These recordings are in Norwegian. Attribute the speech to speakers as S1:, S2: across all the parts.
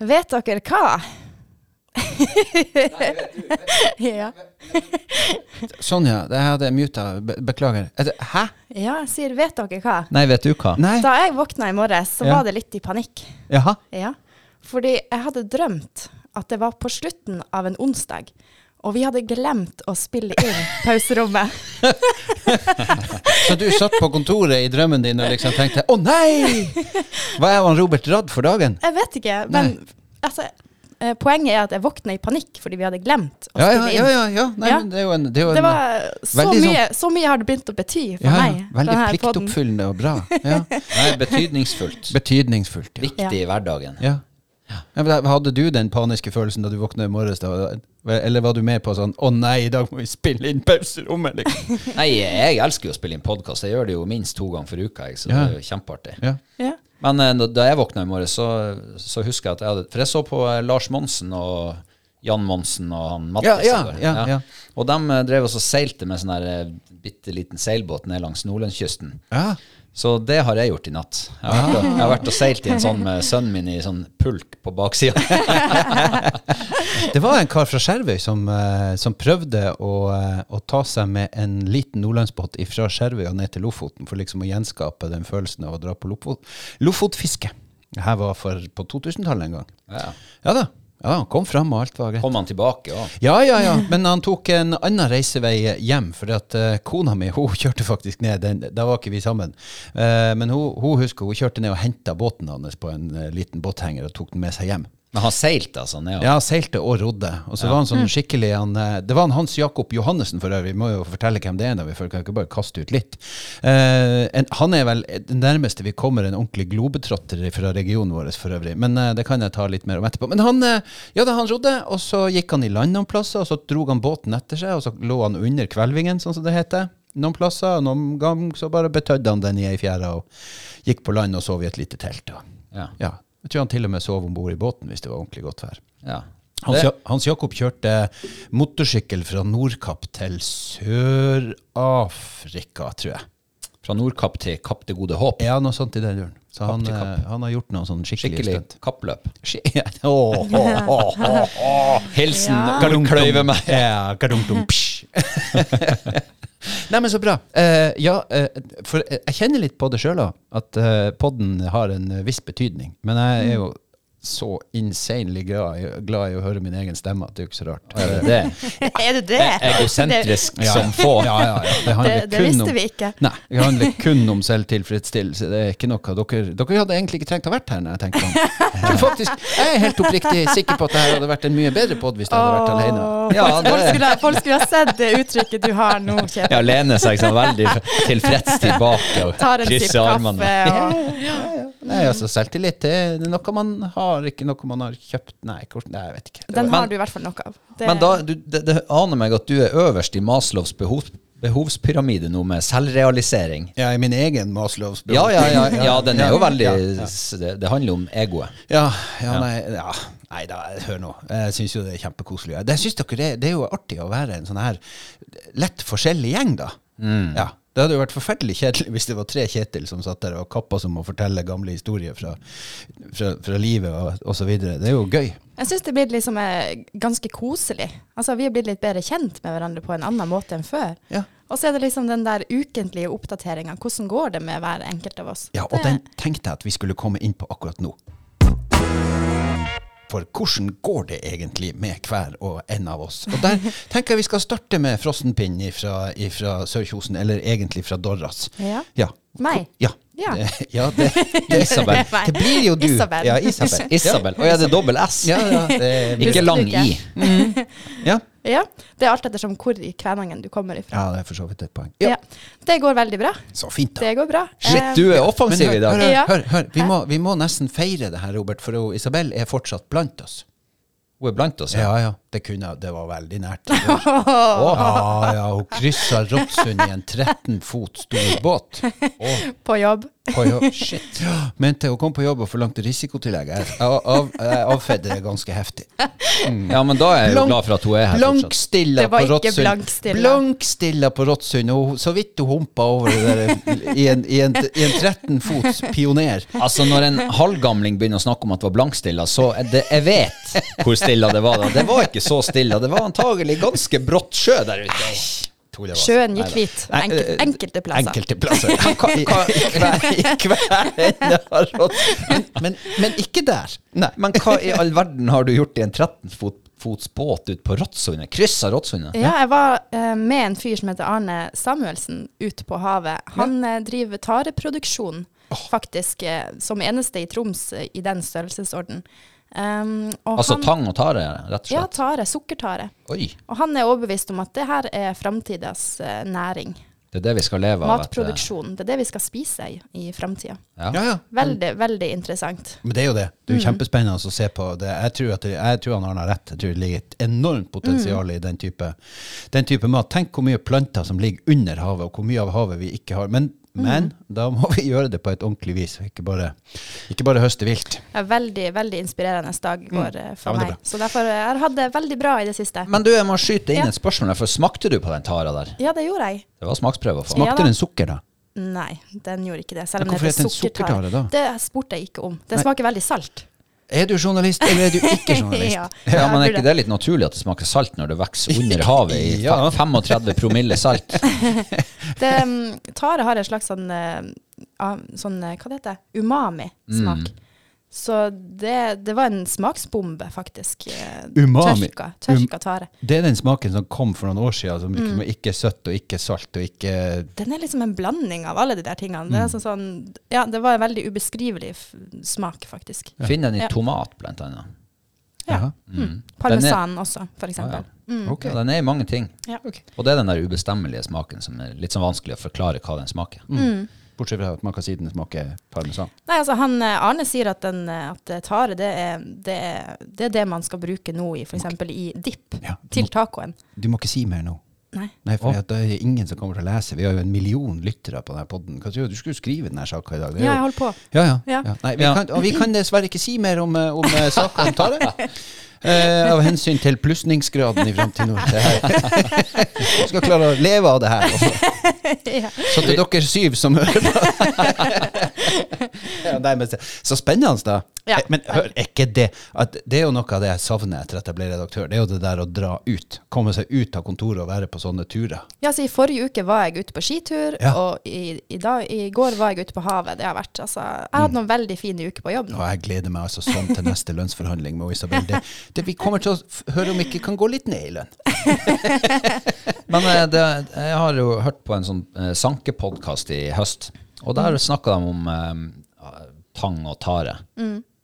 S1: Vet dere hva? ja.
S2: Sonja, det her det er muta. Be beklager. Er det- Hæ?
S1: ja, jeg sier vet dere hva?
S2: Nei, vet du hva? Nei.
S1: Da jeg våkna i morges, så
S2: Ja.
S1: var det litt i panikk.
S2: Jaha.
S1: Ja. Fordi jeg hadde drømt at det var på slutten av en onsdag, og vi hadde glemt å spille inn pauserommet.
S2: Så du satt på kontoret i drømmen din og liksom tenkte å nei! Hva er han Robert Radd for dagen?
S1: Jeg vet ikke, men altså, eh, poenget er at jeg våkna i panikk fordi vi hadde glemt å
S2: Ja, ja,
S1: spille inn.
S2: ja. ja, ja. Nei,
S1: Ja.
S2: men det er jo en, det er jo en
S1: Det var så
S2: Veldig sånn-
S1: mye, så mye har det begynt å bety for
S2: ja, ja.
S1: meg.
S2: Veldig
S1: denne podden.
S2: pliktoppfyllende og bra. Ja.
S3: Nei, betydningsfullt.
S2: Betydningsfullt. Ja.
S3: Viktig i hverdagen.
S2: Ja. Ja, men hadde du den paniske følelsen da du våkna i morges? Da? Eller var du med på sånn 'Å nei, i dag må vi spille inn pauserommet'? Liksom.
S3: Nei, jeg elsker jo å spille inn podkast. Jeg gjør det jo minst to ganger for uka, jeg, så det er jo kjempeartig.
S2: ja.
S1: Ja.
S3: Men eh, da- da jeg våkna i morges, så, så husker jeg at jeg hadde For jeg så på eh, Lars Monsen og Jan Monsen og han Mattis.
S2: Ja, ja,
S3: i går.
S2: ja, ja.
S3: Og de eh, drev og så seilte med sånn der eh, bitte liten seilbåt ned langs Nordlandskysten.
S2: Ja.
S3: Så det har jeg gjort i natt. Jeg har, vært og, jeg har vært og seilt i en sånn med sønnen min i sånn pulk på baksida.
S2: Det var en kar fra Skjervøy som, eh, som prøvde å, eh, å ta seg med en liten nordlandsbåt fra Skjervøy og ned til Lofoten, for liksom å gjenskape den følelsen av å dra på Lofot lofotfiske. Det her var for, på 2000-tallet en gang.
S3: Ja.
S2: Ja da. Ja, han kom fram, og alt var greit.
S3: Kom han tilbake òg.
S2: Ja, ja, ja. Men han tok en annen reisevei hjem, for at eh, kona mi hun kjørte faktisk ned. Den, da var ikke vi sammen. Eh, men hun, hun husker hun kjørte ned og henta båten hans på en eh, liten båthenger og tok den med seg hjem.
S3: Men han seilte altså ned.
S2: Ja, seilte og rodde. Og så var han sånn skikkelig han, eh, Det var han Hans Jakob Johannessen for øvrig, vi må jo fortelle hvem det er, da, vi kan ikke bare kaste ut litt. Eh, en, han er vel den nærmeste vi kommer en ordentlig globetrotter fra regionen vår for øvrig, men eh, det kan jeg ta litt mer om etterpå. Men han, eh, ja da, han rodde, og så gikk han i land noen plasser, og så dro han båten etter seg, og så lå han under kvelvingen, sånn som det heter. Noen plasser, og noen gang så bare betødde han den i ei fjære og gikk på land og sov i et lite telt. Og.
S3: Ja.
S2: Ja. Jeg tror han til og med sov om bord i båten hvis det var ordentlig godt vær.
S3: Ja.
S2: Hans,
S3: Det-
S2: Ja- Hans Jakob kjørte motorsykkel fra Nordkapp til Sør-Afrika, tror jeg.
S3: Fra Nordkapp til Kapp det gode håp.
S2: Ja, noe sånt i den duren. Så han,
S3: til
S2: eh, han har gjort noe sånn skikkelig,
S3: Skikkelig
S2: stunt.
S3: kappløp.
S2: Ski- Ja, åh, åh, åh, åh.
S3: Hilsen
S1: Ja.
S3: Kløyve meg.
S2: Ja, kadum-dum, psj. Nei, men så bra. Eh, ja, eh, for eh, jeg kjenner litt på det sjøl òg, at eh, podden har en eh, viss betydning. Men jeg er jo så insanely glad, i- glad i å høre min egen stemme at det er jo ikke så rart.
S3: Er det det?
S1: er du det?
S3: E- Egosentrisk
S2: Ja,
S3: som få.
S2: Ja, ja, ja. Det, handler
S1: Det- det
S2: kun
S1: visste
S2: om,
S1: vi ikke.
S2: Nei, det handler kun om selvtilfredsstillelse. Det er ikke noe dere, dere hadde egentlig ikke trengt å vært her. når Jeg tenker meg om. Jeg tror faktisk, jeg er helt oppriktig sikker på at det her hadde vært en mye bedre pod hvis jeg hadde vært alene.
S1: Åh,
S3: Ja,
S1: folk,
S3: det-
S1: folk, skulle, folk skulle ha sett det uttrykket du har nå, Kjetil.
S3: Ja, lene seg sånn veldig tilfreds tilbake og
S1: Tar en sipp
S3: krysser armene.
S1: kaffe og
S2: Nei, altså Selvtillit det er noe man har, ikke noe man har kjøpt. Nei, hvordan, nei jeg vet ikke.
S1: Den har
S3: Men-
S1: du i hvert fall nok av. Det-
S3: Men da, du, det, det aner meg at du er øverst i Maslows behov, behovspyramide nå med selvrealisering.
S2: Ja, i min egen Maslows
S3: Ja, ja, ja, ja, den er jo veldig
S2: Ja,
S3: s- Det, det handler om egoet.
S2: ja, ja, nei, ja. nei da, hør nå. Jeg syns jo det er kjempekoselig. Jeg- Det syns dere det, det er jo artig å være en sånn her lett forskjellig gjeng, da. Ja. Det hadde jo vært forferdelig kjedelig hvis det var tre Kjetil som satt der og kappa som å fortelle gamle historier fra, fra, fra livet og, og så videre. Det er jo gøy.
S1: Jeg syns det er blitt liksom, eh, ganske koselig. Altså, vi er blitt litt bedre kjent med hverandre på en annen måte enn før.
S2: Ja.
S1: Og så er det liksom den der ukentlige oppdateringa. Hvordan går det med hver enkelt av oss?
S2: Ja, og
S1: Det-
S2: den tenkte jeg at vi skulle komme inn på akkurat nå. For hvordan går det egentlig med hver og en av oss? Og der tenker jeg vi skal starte med frossenpinn fra Sør-Kjosen, eller egentlig fra Dorras.
S1: Ja.
S2: Ja.
S1: Meg?
S2: Ja.
S1: Ja.
S2: Det, ja, det, det,
S3: Isabel.
S1: meg.
S2: Det blir jo du.
S1: Isabel.
S2: Ja, Isabel.
S3: Isabel. Å ja, det er dobbel S.
S2: Ja, ja, det,
S3: Ikke lang
S1: Husker du
S3: I.
S1: ikke?
S2: ja.
S1: Ja. Det er alt ettersom hvor i Kvænangen du kommer ifra.
S2: ja, det er for så vidt et poeng. Ja,
S1: Ja. Det går veldig bra.
S2: Så fint, da.
S1: Det går bra.
S3: Shit,
S1: Eh,
S3: du er
S2: Men
S3: offensiv
S2: hør,
S3: i dag.
S2: hør, hør,
S1: Ja.
S2: hør, hør. Vi, må, vi må nesten feire det her, Robert, for hun Isabel er fortsatt blant oss.
S3: Hun er blant oss.
S2: Ja, ja. Det kunne Det var veldig nært. ja, ja, hun kryssa Rotsund i en 13 fot stor båt.
S1: På jobb.
S2: På jobb. Shit. Mente hun kom på jobb og forlangte risikotillegg. Jeg, jeg, av, jeg avfedde det ganske heftig.
S3: Ja, men da er jeg jo
S2: Blank-
S3: glad for at hun er her fortsatt.
S2: Blankstilla
S1: Det var
S2: på
S1: ikke
S2: Rotsund.
S1: blankstilla.
S2: Blankstilla på Rotsund. Og så vidt hun humpa over det der i en, i en, i en 13 fots pioner.
S3: Altså, når en halvgamling begynner å snakke om at det var blankstilla, så er det, jeg vet hvor stilla det var da. Det var ikke så stilla. Det var antagelig ganske brått sjø der ute. Tror det var.
S1: Sjøen gikk
S3: Neida.
S1: hvit. Enkel,
S2: eh,
S1: enkelte plasser.
S2: Enkelte plasser. I-
S3: I hver- i hver ende av Rotsund.
S2: Men, men, men ikke der.
S3: Nei, men hva i all verden har du gjort i en 13 fot, fots båt ut på Rotsundet? Kryssa Rotsundet?
S1: Ja, jeg var eh, med en fyr som heter Arne Samuelsen ute på havet. Han eh, driver tareproduksjon, faktisk, eh, som eneste i Troms eh, i den størrelsesorden. Um, og
S3: Altså
S1: han-
S3: tang og tare, rett og
S1: Ja,
S3: slett?
S1: tare. Sukkertare.
S3: Oi,
S1: Og han er overbevist om at det her er framtidas eh, næring.
S3: det er det vi skal leve av. at, eh,
S1: Matproduksjon. Det er det vi skal spise i, i framtida.
S2: Ja, ja.
S1: Veldig, veldig interessant.
S2: Men det er jo det. Det er jo kjempespennende å se på det. Jeg tror, at det, jeg tror han Arne har rett. Jeg tror det ligger et enormt potensial i den type, den type mat. Tenk hvor mye planter som ligger under havet, og hvor mye av havet vi ikke har. Men, men da må vi gjøre det på et ordentlig vis, og ikke bare, ikke bare høste vilt.
S1: Ja, veldig, veldig inspirerende dag går eh,
S2: Ja,
S1: for
S2: men det
S1: meg.
S2: er bra.
S1: Så derfor eh, jeg har hatt det veldig bra i det siste.
S3: Men du, jeg må skyte inn
S1: Ja.
S3: et spørsmål. her, For smakte du på den tara der?
S1: Ja, det gjorde jeg.
S3: Det var smaksprøve å
S1: Ja
S3: få.
S1: da.
S2: Smakte den sukker, da?
S1: Nei, den gjorde ikke det. Selv
S2: Men
S1: om det
S2: hvorfor
S1: heter
S2: heter den
S1: sukkertare.
S2: sukkertare,
S1: Det spurte jeg ikke om. Den smaker veldig salt.
S2: Er du journalist, eller er du ikke sånn journalist?
S1: Ja.
S3: Ja, men er
S1: jeg
S3: ikke det litt naturlig at det smaker salt når det vokser under havet i fe-
S2: Ja.
S3: 35 promille salt?
S1: burde- det, mm, tare har en slags sånn, eh, av- sånn eh, Hva det heter det? Umami-smak. Så det, det var en smaksbombe, faktisk. eh,
S2: Umami.
S1: Tørka, tørka tare.
S2: Det er den smaken som kom for noen år siden, som
S1: Mm.
S2: liksom ikke er søtt og ikke salt og ikke
S1: Den er liksom en blanding av alle de der tingene. Det, er sånn, sånn, ja, det var en veldig ubeskrivelig f smak, faktisk.
S3: Finn den i
S1: Ja.
S3: tomat, blant annet.
S1: Ja.
S2: Jaha.
S1: Parmesan også, for eksempel. Mm.
S3: Ok. Mm. Ja, den er i mange ting.
S1: Ja.
S3: Og det er den der ubestemmelige smaken som er litt sånn vanskelig å forklare hva den smaker.
S1: Mm.
S2: Bortsett fra at man kan si den smaker parmesan.
S1: Nei, altså han, eh, Arne sier at, den, eh, at eh, tare det er, det, er, det er det man skal bruke nå i f.eks. i dipp
S2: Ja, du
S1: til
S2: må-
S1: tacoen.
S2: Du må ikke si mer nå.
S1: Nei.
S2: Nei, for at det er ingen som kommer til å lese. Vi har jo en million lyttere på denne podden. Hva tror Du Du skulle jo skrive denne saka i dag. Det er
S1: Ja, jeg
S2: jo-
S1: holder på.
S2: ja, ja.
S1: Ja.
S2: ja. Nei, vi,
S3: Ja.
S2: Kan, og vi kan dessverre ikke si mer om, eh, om eh, saka om Tare. Eh, av hensyn til plusningsgraden i framtiden. Vi skal klare å leve av det her. Også.
S1: ja.
S2: Så til dere syv som hører på. ja, nei, men, se- så spennende, da.
S1: Ja.
S2: Eh, Men hør, er ikke det at Det er jo noe av det jeg savner etter at jeg ble redaktør. Det er jo det der å dra ut. Komme seg ut av kontoret og være på sånne turer.
S1: ja, så I forrige uke var jeg ute på skitur,
S2: Ja.
S1: og i, i, dag, i går var jeg ute på havet. Det har vært, altså, jeg har hatt noen veldig fine uker på jobb
S2: Og
S1: nå.
S2: jeg gleder meg altså sånn til neste lønnsforhandling med Isabel. Det, det, vi kommer til å f- høre om vi ikke kan gå litt ned i lønn.
S3: Men eh, det, jeg har jo hørt på en sånn eh, sankepodkast i høst, og der snakka de om eh, tang og tare.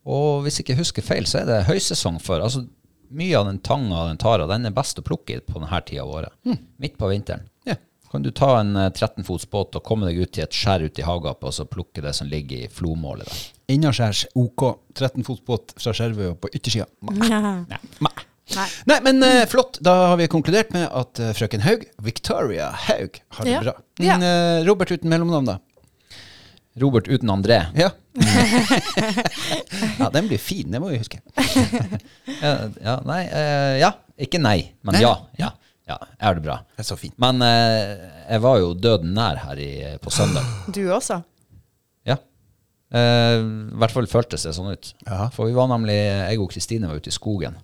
S3: Og hvis jeg ikke husker feil, så er det høysesong for altså Mye av den tanga og den tara den er best å plukke i på denne tida av året. Midt på vinteren.
S2: Ja.
S3: Kan du ta en eh, 13 fots båt og komme deg ut til et skjær ute i havgapet og så plukke det som ligger i flomålet der?
S2: Innaskjærs OK. 13 fots båt fra Skjervøy og på yttersida.
S1: Ja. Nei.
S2: Nei, men eh, flott. Da har vi konkludert med at eh, frøken Haug, Victoria Haug, har det
S1: Ja.
S2: bra.
S1: Ja.
S2: Men, eh, Robert uten mellomnavn, da?
S3: Robert uten André.
S2: Ja. ja, den blir fin, det må vi huske.
S3: Ja, ja, nei, eh, ja. Ikke nei, men
S2: Nei,
S3: ja.
S2: nei.
S3: Ja, ja er det bra.
S2: Det er så fint.
S3: Men eh, jeg var jo døden nær her i, på søndag.
S1: Du også?
S3: Ja. Eh, I hvert fall føltes det sånn ut.
S2: Ja.
S3: For vi var nemlig, jeg og Kristine var ute i skogen.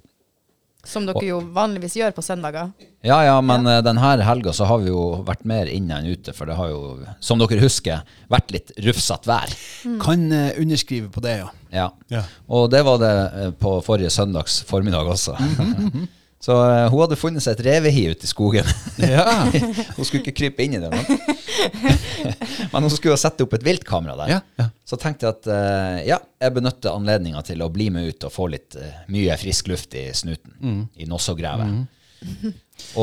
S1: Som dere jo vanligvis gjør på søndager.
S3: Ja, ja, men eh, denne helga så har vi jo vært mer inne enn ute, for det har jo, som dere husker, vært litt rufsete vær.
S1: Mm.
S2: Kan eh, underskrive på det, ja.
S3: Ja.
S2: Ja.
S3: Og det var det eh, på forrige søndags formiddag også.
S2: Mhm,
S3: Så eh, hun hadde funnet seg et revehi ute i skogen.
S2: Ja.
S3: hun skulle ikke krype inn i det, men, men hun skulle jo sette opp et viltkamera der.
S2: Ja, ja.
S3: Så tenkte jeg at eh, ja, jeg benytter anledninga til å bli med ut og få litt eh, mye frisk luft i snuten.
S2: Mm.
S3: I Nossogrevet.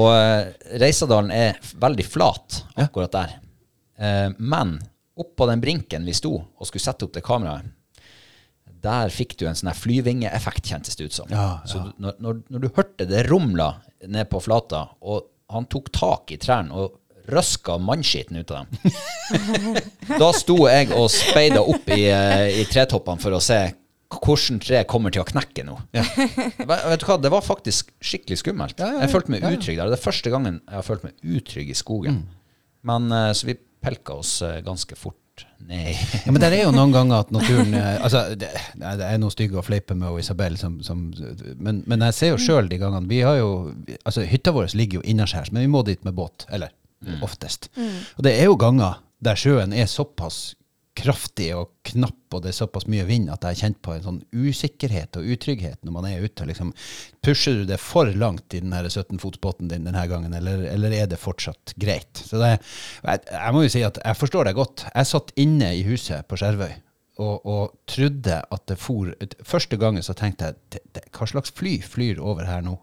S3: Og eh, Reisadalen er f- veldig flat akkurat der. Eh, men oppå den brinken vi sto og skulle sette opp det kameraet, der fikk du en sånn her flyvingeeffekt, kjentes det ut som.
S2: Ja,
S3: Så du, når, når, når du hørte det rumla ned på flata, og han tok tak i trærne og røska mannskiten ut av dem, da sto jeg og speida opp i, eh, i tretoppene for å se hvordan tre kommer til å knekke nå. Ve- Vet du hva, Det var faktisk skikkelig skummelt. Jeg følte meg utrygg der. Det er første gangen jeg har følt meg utrygg i skogen.
S2: Mm.
S3: Men eh, Så vi pelka oss eh, ganske fort ned i
S2: Ja, men det er jo noen ganger at naturen eh, altså, det, nei, det er noe stygg å fleipe med og Isabel, som, som, men, men jeg ser jo sjøl de gangene vi har jo, altså Hytta vår ligger jo innaskjærs, men vi må dit med båt. Eller oftest. Og det er jo ganger der sjøen er såpass kraftig og knapp, og det er såpass mye vind at jeg har kjent på en sånn usikkerhet og utrygghet når man er ute. Liksom, pusher du det for langt i den her 17-fotsbåten din denne gangen, eller, eller er det fortsatt greit? Så det, jeg, jeg må jo si at jeg forstår deg godt. Jeg satt inne i huset på Skjervøy og, og trodde at det for Første gangen så tenkte jeg "Det- det- hva slags fly flyr over her nå?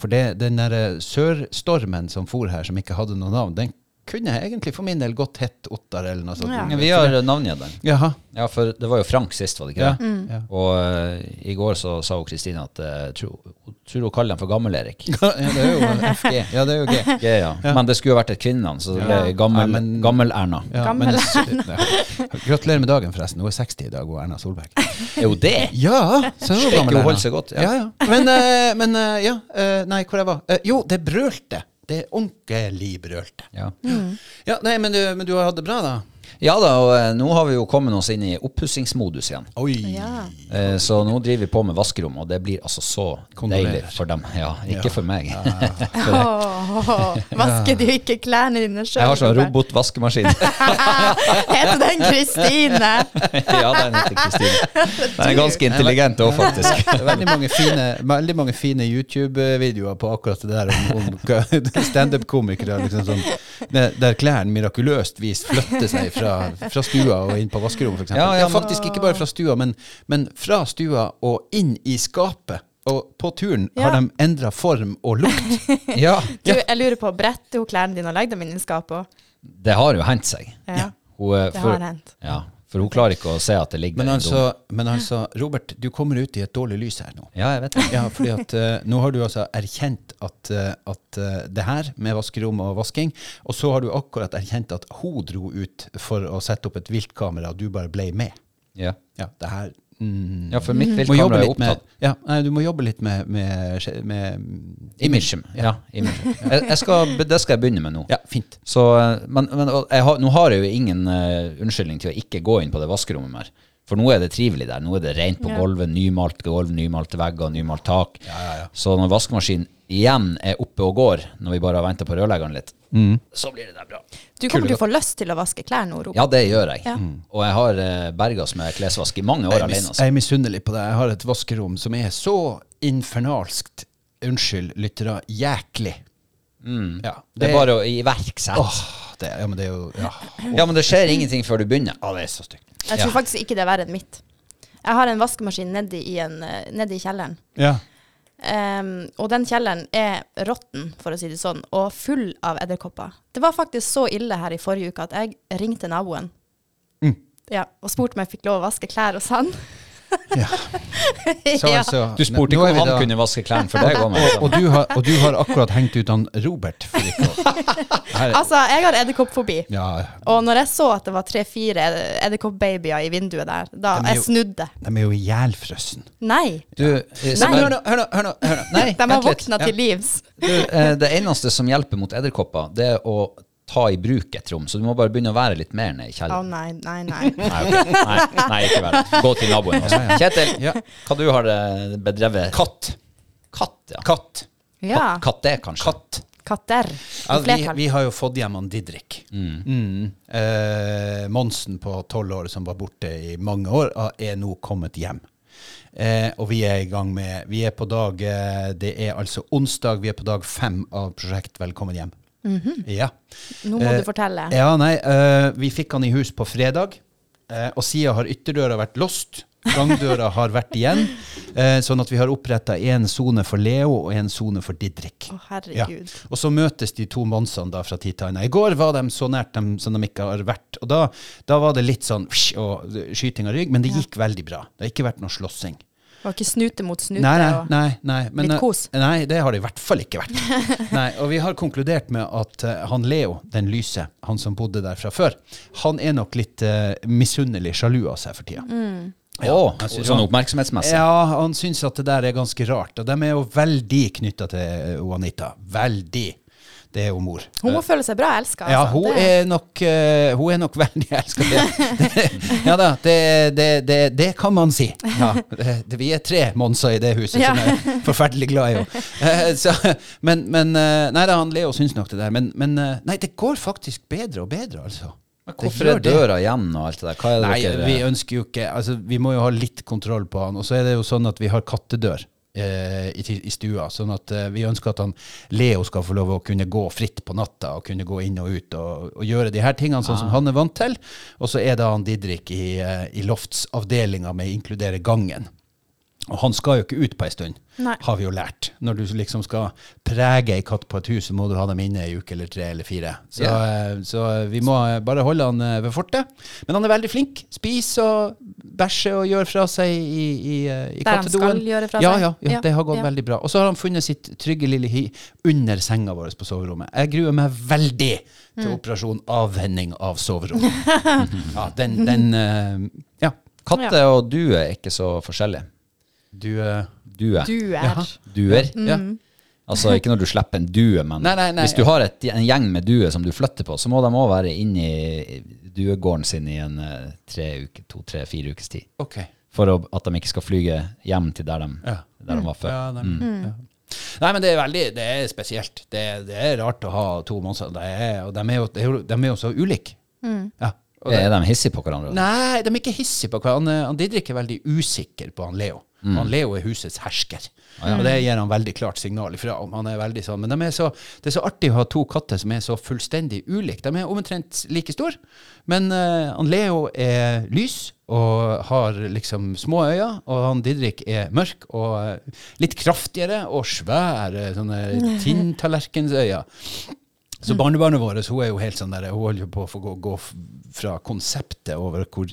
S2: For det, den der eh, sørstormen som for her, som ikke hadde noe navn, den kunne jeg egentlig for min del godt hett Ottar eller noe sånt.
S1: Ja.
S3: Vi har navngitt den.
S2: Jaha.
S3: Ja, for det var jo Frank sist, var det ikke
S2: Ja.
S3: det?
S2: Ja.
S3: Og eh, i går så sa hun Kristine at eh, tro- hun tror hun kaller den for Gammel-Erik.
S2: Ja, det er jo FG. Ja, det er jo G.
S3: Ja, ja. Men det skulle jo vært et kvinnenavn, så det ble
S1: Ja.
S2: Nei,
S3: Gammel-Erna.
S2: men- Ja,
S1: Gammel
S2: men- Gratulerer med dagen, forresten. Hun er 60 i dag, hun Erna Solberg.
S3: Er jo det?
S2: Ja! Så hun
S3: Slik,
S2: er gammel.
S3: hun
S2: Erna.
S3: holder seg godt, ja.
S2: Ja, ja. Men, eh, men eh, ja. eh, Nei, hvor jeg var Eh, Jo, det brølte. Det ordentlig brølte.
S3: Ja.
S2: Ja, nei, men du, men du har hatt det bra, da?
S3: ja da, og eh, nå har vi jo kommet oss inn i oppussingsmodus igjen.
S2: Oi.
S1: Ja.
S3: Eh, Så nå driver vi på med vaskerom, og det blir altså så
S2: Kondolerer.
S3: deilig for dem. Ja, ikke for meg.
S1: Åh, vasker du ikke klærne dine sjøl?
S3: Jeg har sånn robotvaskemaskin.
S1: Heter den Kristine?
S3: ja, den heter Kristine. Den er ganske intelligent òg, faktisk.
S2: Det er veldig mange fine, veldig mange fine YouTube-videoer på akkurat det der om, om hva- standup-komikere. Liksom sånn, der, der klærne mirakuløst vis flytter seg fra, fra stua og inn på vaskerommet, f.eks.
S3: Ja,
S2: Ja,
S3: ja, men-
S2: faktisk ikke bare fra stua, men, men fra stua og inn i skapet. Og på turen har
S1: Ja.
S2: de endra form og lukt.
S3: Ja,
S1: Du, jeg lurer på, bretter hun klærne dine og legger dem inn i skapet òg?
S3: Det har jo hendt seg.
S1: Ja.
S3: Hun, eh,
S1: Det
S3: for-
S1: har hendt.
S3: Ja, for hun klarer ikke å se at det ligger
S2: Men
S3: der i doen.
S2: altså, men altså, Robert, du kommer ut i et dårlig lys her nå.
S3: Ja, jeg vet det.
S2: Ja, fordi at eh, nå har du altså erkjent at, eh, at eh, det her med vaskerom og vasking, og så har du akkurat erkjent at hun dro ut for å sette opp et viltkamera, og du bare ble med.
S3: Ja,
S2: Ja, det her mm,
S3: ja for mitt
S2: må jobbe
S3: viltkamera er
S2: litt med-
S3: opptatt.
S2: Ja, nei, du må jobbe litt med, med, skje- med
S3: Imagen. Ja, imagen. Jeg, jeg skal, be- det skal jeg begynne med nå.
S2: Ja, fint.
S3: Så, eh, men men og jeg har, nå har jeg jo ingen eh, unnskyldning til å ikke gå inn på det vaskerommet mer. For nå er det trivelig der. Nå er det rent på
S1: Ja.
S3: gulvet, nymalt gulv, nymalte vegger, nymalt tak. Så når vaskemaskinen igjen er oppe og går, når vi bare har venta på rørleggeren litt,
S2: Mm.
S3: så blir det der bra.
S1: Du kommer til å få lyst til å vaske klær nå, Robert.
S3: Ja, det gjør jeg.
S1: Ja.
S3: Og jeg har eh, bergas med klesvask i mange
S2: Jeg
S3: år
S2: er,
S3: alene.
S2: mis,
S3: Altså.
S2: jeg er misunnelig på deg. Jeg har et vaskerom som er så infernalskt, unnskyld lyttere, jæklig. Ja,
S3: Det er bare å iverksette.
S2: Åh, det, ja, men det er jo ja.
S3: Ja, men det skjer ingenting før du begynner. Ja, det er så stygt.
S1: Jeg tror faktisk ikke det er verre enn mitt. Jeg har en vaskemaskin nedi i, en, eh, nedi i kjelleren.
S2: ja.
S1: Ehm, og den kjelleren er råtten, for å si det sånn, og full av edderkopper. Det var faktisk så ille her i forrige uke at jeg ringte naboen
S2: Mm.
S1: ja, og spurte om jeg fikk lov å vaske klær hos han.
S2: Ja. Så,
S1: Ja.
S2: altså,
S3: Du spurte
S2: nå
S3: ikke
S2: er
S3: om
S2: vi
S3: han
S2: da-
S3: kunne vaske klærne for deg òg,
S2: og, og, du har, og du har akkurat hengt ut han Robert. For ikke å- Her,
S1: Altså, jeg har edderkoppfobi.
S2: ja,
S1: Og når jeg så at det var tre-fire ed- edderkoppbabyer i vinduet der, da
S2: De er
S1: jeg
S2: jo-
S1: snudde.
S2: de er jo ihjelfrøssen.
S1: Nei.
S3: Du, eh,
S1: Nei.
S3: Isabel,
S2: Hør nå, hør nå, hør nå. Hør nå.
S1: De
S2: Nei,
S1: har
S2: vent litt.
S1: våkna til livs.
S3: du, eh, det eneste som hjelper mot edderkopper, det er å ta i bruk et rom. Så du må bare begynne å være litt mer ned i
S1: Å
S3: kjelleren.
S1: nei, nei, nei.
S3: Nei, ok. nei, nei, ikke vær det. Gå til naboen. Altså. Kjetil,
S2: Ja.
S3: hva du har eh, bedrevet?
S2: Katt.
S3: Katt, ja.
S2: Katt.
S1: Ja.
S3: Katt, katt det, kanskje?
S2: Katt.
S1: Katter.
S2: Ja,
S1: I
S2: vi,
S1: flertall.
S2: vi har jo fått hjem han Didrik. Mm. Eh, Monsen på tolv år som var borte i mange år, ah, er nå kommet hjem. Eh, og vi er i gang med Vi er på dag eh, Det er altså onsdag, vi er på dag fem av prosjekt Velkommen hjem.
S1: Mhm.
S2: Ja.
S1: Nå må
S2: Eh,
S1: du fortelle.
S2: Ja, nei, eh, vi fikk han i hus på fredag, eh, og siden har ytterdøra vært låst, Gangdøra har vært igjen. Eh, sånn at vi har oppretta én sone for Leo og én sone for Didrik.
S1: Å, herregud.
S2: Ja. Og så møtes de to monsene da fra tid til annen. I går var de så nært dem som de ikke har vært. Og da, da var det litt sånn psh, og skyting av rygg, men det gikk veldig bra. Det har ikke vært noe slåssing.
S1: Det var ikke snute mot snute.
S2: Nei, nei,
S1: og-
S2: nei, nei, men,
S1: Litt kos.
S2: eh, Nei, det har det i hvert fall ikke vært. Nei, og vi har konkludert med at eh, han Leo, den lyse, han som bodde der fra før, han er nok litt eh, misunnelig sjalu av seg for tida.
S1: Mm.
S3: Å,
S2: jeg synes
S3: sånn
S2: han-
S3: oppmerksomhetsmessig.
S2: Ja, han syns at det der er ganske rart. Og de er jo veldig knytta til eh, Juanita. Veldig. Det er jo mor.
S1: Hun må føle seg bra altså. elska.
S2: Ja, hun altså. er nok, eh, hun er nok veldig elska. Ja da, det, det, det, det kan man si. Ja, det, det- vi er tre monser i det huset
S1: Ja.
S2: som er forferdelig glad i henne. Eh, så- Men, men eh, Nei da, han Leo syns nok det der. Men, men eh, nei, det går faktisk bedre og bedre, altså.
S3: Men
S2: Det
S3: Hvorfor er
S2: gjør det.
S3: døra igjen og alt det der? Hva er det
S2: Nei,
S3: dere eh.
S2: vi ønsker jo ikke altså, Vi må jo ha litt kontroll på han. Og så er det jo sånn at vi har kattedør eh, i, ti- i stua. Sånn at eh, vi ønsker at han Leo skal få lov å kunne gå fritt på natta og kunne gå inn og ut og, og gjøre de her tingene sånn som han er vant til. Og så er da han Didrik i, eh, i loftsavdelinga med inkludere gangen. Og han skal jo ikke ut på ei stund,
S1: Nei.
S2: har vi jo lært. Når du liksom skal prege ei katt på et hus, så må du ha dem inne ei uke eller tre eller fire. Så,
S3: Ja.
S2: eh, så vi må eh, bare holde han eh, ved fortet. Men han er veldig flink. Spiser og bæsjer og gjør fra seg i, i, eh, i
S1: Der han
S2: kattedoen.
S1: skal gjøre fra
S2: ja,
S1: seg.
S2: Ja, ja,
S1: Ja,
S2: det har gått
S1: ja.
S2: veldig bra. Og så har han funnet sitt trygge lille hi under senga vår på soverommet. Jeg gruer meg veldig
S1: Mm.
S2: til operasjon avhenning av soverommet. ja, den, den eh, Ja.
S3: Katte og due er ikke så forskjellige.
S2: Du eh,
S3: Due.
S1: Du er
S2: Jaha.
S3: Duer.
S2: ja.
S1: Mm.
S3: Altså ikke når du slipper en due, men
S2: Nei, nei, nei.
S3: hvis du har et, en gjeng med duer som du flytter på, så må de òg være inne i duegården sin i en eh, tre uke, to, tre, fire ukes tid.
S2: Ok.
S3: For å, at de ikke skal flyge hjem til der de,
S2: Ja.
S3: der de var før.
S2: Ja, nei, Mm. ja. nei, men det er veldig Det er spesielt. Det, det er rart å ha to monster. Det er, og de er jo, det er jo, de er jo så ulike. Ja. Og det,
S3: Er de hissige på hverandre?
S2: nei, de er ikke hissige på hverandre. Han, eh, han Didrik er veldig usikker på han Leo. Han Leo er husets hersker, og det gir han veldig klart signal ifra om. Han er veldig sånn, men de er så, det er så artig å ha to katter som er så fullstendig ulike. De er omtrent like store, men eh, han Leo er lys og har liksom små øyne, og han Didrik er mørk og eh, litt kraftigere og svære sånne tinntallerkensøyne.
S1: Mm.
S2: Så barnebarnet vårt hun er jo helt sånn der, hun holder jo på å få gå, gå f- fra konseptet over hvor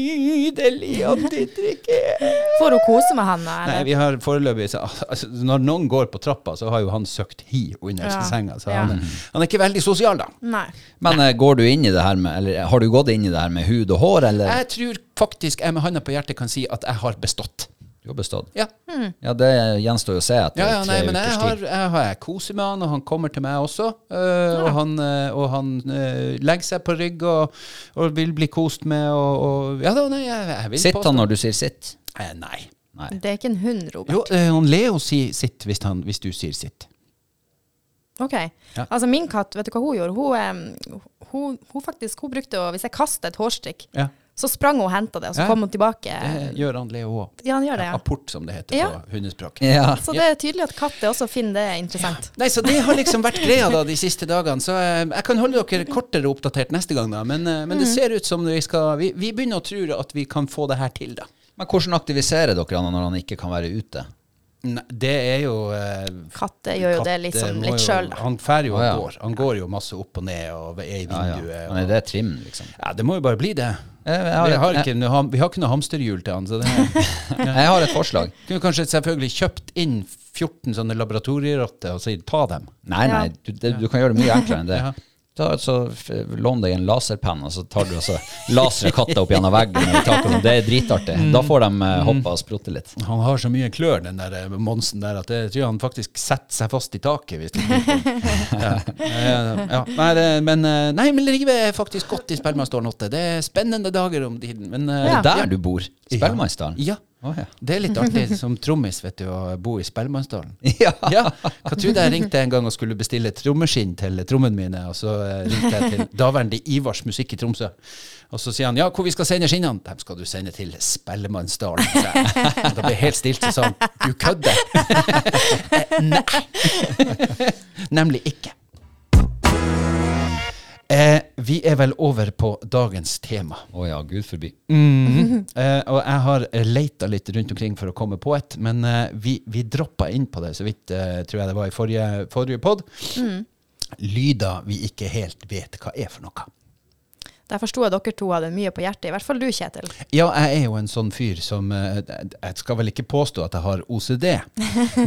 S2: nydelig han Didrik er.
S1: Får hun kose med han, da?
S2: Nei,
S1: eller?
S2: vi har foreløpig, så, altså, Når noen går på trappa, så har jo han søkt hi under
S1: Ja.
S2: senga. Så
S1: Ja.
S2: han, er- han er ikke veldig sosial, da.
S1: Nei.
S3: Men eh, går du inn i det her med, eller har du gått inn i det her med hud og hår, eller?
S2: Jeg tror faktisk jeg med handa på hjertet kan si at jeg har bestått.
S3: Du har bestått.
S2: Ja,
S3: Ja, det gjenstår jo å se etter
S2: ja, ja
S3: tre
S2: nei, men jeg
S3: ukers
S2: har,
S3: tid.
S2: jeg har jeg koser med han, og han kommer til meg også. eh, Og han, eh, og han eh, legger seg på rygg og, og vil bli kost med. Og, og, ja da, nei, jeg, jeg vil
S3: Sitter han når du sier sitt?
S2: Eh, nei.
S3: Nei.
S1: Det er ikke en hund, Robert.
S2: Jo, eh, han Leo sier sitt hvis, han, hvis du sier sitt.
S1: Ok.
S2: Ja.
S1: Altså, min katt, vet du hva hun gjorde? Hun, em, hun, hun faktisk, hun brukte å Hvis jeg kastet et hårstrikk,
S2: Ja.
S1: så sprang hun og henta det, og så
S2: Ja.
S1: kom hun tilbake.
S2: Det gjør han Leo òg.
S1: Ja, han gjør det, Eh. ja.
S2: Apport, som det heter
S1: Ja.
S2: på hundespråk.
S3: Ja.
S1: Så det er tydelig at katter også finner det interessant.
S2: Nei, så Det har liksom vært greia da de siste dagene. Så eh, jeg kan holde dere kortere oppdatert neste gang, da. Men, eh, men
S1: Mhm.
S2: det ser ut som vi skal Vi, vi begynner å tro at vi kan få det her til, da.
S3: Men hvordan aktiviserer dere han når han ikke kan være ute?
S2: Nei, det er jo eh,
S1: Katter gjør jo det
S2: katt,
S1: liksom
S2: må
S1: litt
S2: jo-
S1: sjøl, da.
S2: Han fær jo og
S3: Å, ja.
S2: går. Han går jo masse opp og ned og er i
S3: Ja, ja.
S2: vinduet.
S3: Men er
S2: og-
S3: det trim, liksom?
S2: Ja, det må jo bare bli det.
S3: Jeg, jeg,
S2: Vi
S3: har
S2: har
S3: et,
S2: ikke, vi har ikke noe hamsterhjul til han, så det
S3: jeg, jeg har et forslag.
S2: Kunne kanskje selvfølgelig kjøpt inn 14 sånne laboratorierotter og si ta dem.
S3: Nei,
S1: Ja.
S3: nei, du, det, du kan gjøre det mye enklere enn det.
S2: Ja.
S3: Ta, så f- Lån deg en laserpenn, og så tar du altså laserer katta opp gjennom veggen. i taket og sånn. Det er dritartig.
S2: Mm.
S3: Da får de eh, hoppe og sprotte litt.
S2: Han har så mye klør, den der eh, Monsen der, at jeg tror han faktisk setter seg fast i taket. Hvis det blir sånn. ja. Ja, ja. Nei, det, men, eh, nei, men Rive er faktisk godt i Spellemannstårn 8. Det er spennende dager om tiden. Men, eh,
S3: Er
S1: Ja.
S3: det der du bor? Spellemannstalen?
S2: Ja.
S3: Å, ja.
S2: Det er litt artig som trommis vet du, å bo i Spellemannstårn.
S3: Ja.
S2: Ja. Hva tror du jeg ringte en gang og skulle bestille trommeskinn til trommene mine, og så eh, ringte jeg til daværende Ivars Musikk i Tromsø. Og så sier han ja, hvor vi skal sende skinnene? Dem skal du sende til Spellemannsdalen. sa jeg. Og Da ble jeg helt stilt og sa han, du kødder? Eh, Nei. Nemlig ikke. Eh, vi er vel over på dagens tema.
S3: Å ja, gud forbi.
S2: Eh, og jeg har leita litt rundt omkring for å komme på et, men eh, vi, vi droppa inn på det så vidt, eh, tror jeg det var i forrige, forrige pod. Lyder vi ikke helt vet hva er for noe.
S1: Der forsto jeg dere to hadde mye på hjertet, i hvert fall du, Kjetil.
S2: Ja, jeg er jo en sånn fyr som eh, Jeg skal vel ikke påstå at jeg har OCD,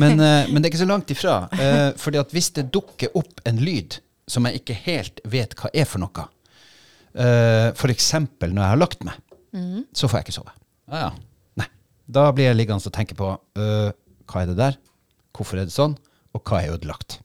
S2: men, eh, men det er ikke så langt ifra. Eh, fordi at hvis det dukker opp en lyd som jeg ikke helt vet hva er for noe, eh, f.eks. når jeg har lagt meg, så får jeg ikke sove.
S3: Ja, ja.
S2: Nei. Da blir jeg liggende og tenke på øh, hva er det der, hvorfor er det sånn, og hva er ødelagt?